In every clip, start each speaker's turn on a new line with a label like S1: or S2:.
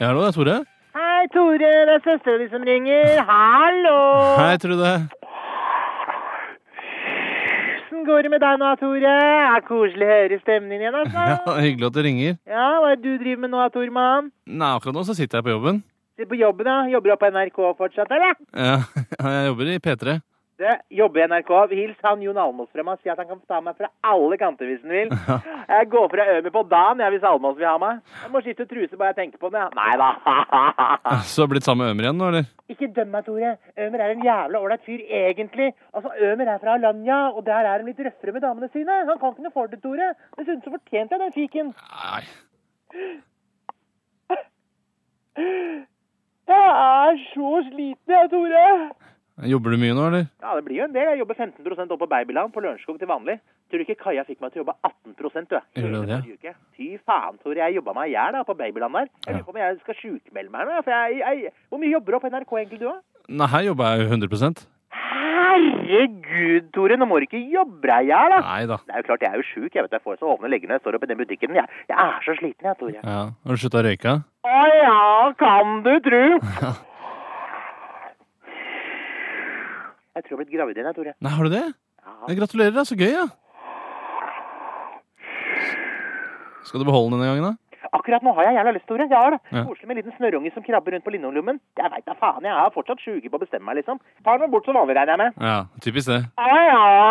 S1: Ja, hallo, det er Tore.
S2: Hei, Tore. Det er søstera di som ringer. Hallo!
S1: Hei, Trude.
S2: Hvordan går det med deg nå, Tore? Er koselig å høre stemmen din igjen,
S1: Ja,
S2: altså.
S1: hyggelig at du ringer.
S2: Ja, hva er det du driver med nå, Tormann?
S1: Nei, akkurat nå så sitter jeg på jobben.
S2: Du er på jobben, da? Jobber du på NRK fortsatt, eller?
S1: Ja, jeg jobber i P3.
S2: Det, jobber i NRK. Hils han Jon Almås fra meg. Si at han kan ta meg fra alle kanter hvis han vil.
S1: Ja.
S2: Jeg går fra Ømi på dagen jeg, hvis Almås vil ha meg. Jeg må skifte truse bare jeg tenker på det. Nei da.
S1: Så har blitt sammen med Ømer igjen nå, eller?
S2: Ikke døm meg, Tore. Ømer er en jævla ålreit fyr, egentlig. Altså, Ømer er fra Alanya, og der er han litt røffere med damene sine. Han kan ikke noe for det, Tore. Dessuten så fortjente jeg den fiken.
S1: Nei.
S2: Jeg er så sliten, jeg, Tore.
S1: Jobber du mye nå, eller?
S2: Ja, det blir jo en del. Jeg jobber 15 opp på Babyland på Lørenskog til vanlig. Tror du ikke Kaja fikk meg til å jobbe 18 du?
S1: Gjorde du det?
S2: Forrige uke. Fy faen, Tore. Jeg jobba meg i hjel da, på Babyland der. Jeg lurer på om jeg skal sjukmelde meg her nå. For jeg, jeg, hvor mye jobber du på NRK egentlig, du, da?
S1: Nei, her jobber jeg jo 100
S2: Herregud, Tore. Nå må du ikke jobbe deg i hjel, da.
S1: Nei da.
S2: Det er jo klart, jeg er jo sjuk. Jeg vet jeg får så hovne leggene. Jeg står oppe i den butikken. Jeg, jeg er så sliten, jeg, Tore.
S1: Ja. Har du slutta å røyke?
S2: Å ja, kan du tru!
S1: Ja.
S2: Jeg tror jeg har blitt gravid igjen, jeg, Tore.
S1: Nei, har du det?
S2: Ja.
S1: Jeg gratulerer, da. Så gøy, ja. Skal du beholde den denne gangen, da?
S2: Akkurat nå har jeg jævla lyst, Tore. Jeg har det.
S1: Ja.
S2: Koselig med en liten snørrunge som krabber rundt på linoleumen. Jeg veit da faen, jeg er fortsatt sju uker på å bestemme meg, liksom. Tar den bort som vanlig, regner jeg med.
S1: Ja, typisk det.
S2: Å ja!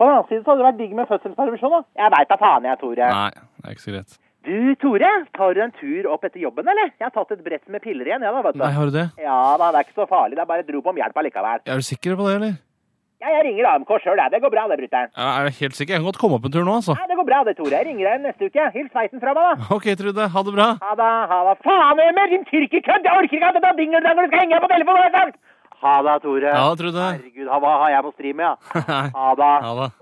S2: På den annen side så hadde det vært digg med fødselspermisjon, da. Jeg veit da faen, jeg, Tore.
S1: Nei, det er ikke så greit.
S2: Du, Tore, tar du en tur opp etter jobben, eller? Jeg har tatt et brett med piller igjen, jeg, da, vet du.
S1: Nei, har du det?
S2: Ja da, det er ikke så farlig. Det er bare et rop om hjelp allikevel.
S1: Er du sikker på det, eller?
S2: Ja, jeg ringer AMK sjøl, jeg. Det går bra, det, brutter'n.
S1: Ja, er du helt sikker? Jeg kan godt komme opp en tur nå, altså.
S2: Nei, det går bra, det, Tore. Jeg ringer deg neste uke. Hils sveisen fra meg, da.
S1: OK, Trude. Ha det bra.
S2: Ha det, ha det. Faen, Ømer! Din tyrkerkødd! Jeg orker ikke at du tar dingeldang når du skal henge deg på telefonen! har jeg sagt! Ha det, Tore.
S1: Ja, Trude.
S2: Herregud, ha- hva har jeg på stream, ja?
S1: Nei.
S2: Ha det.
S1: Ha det.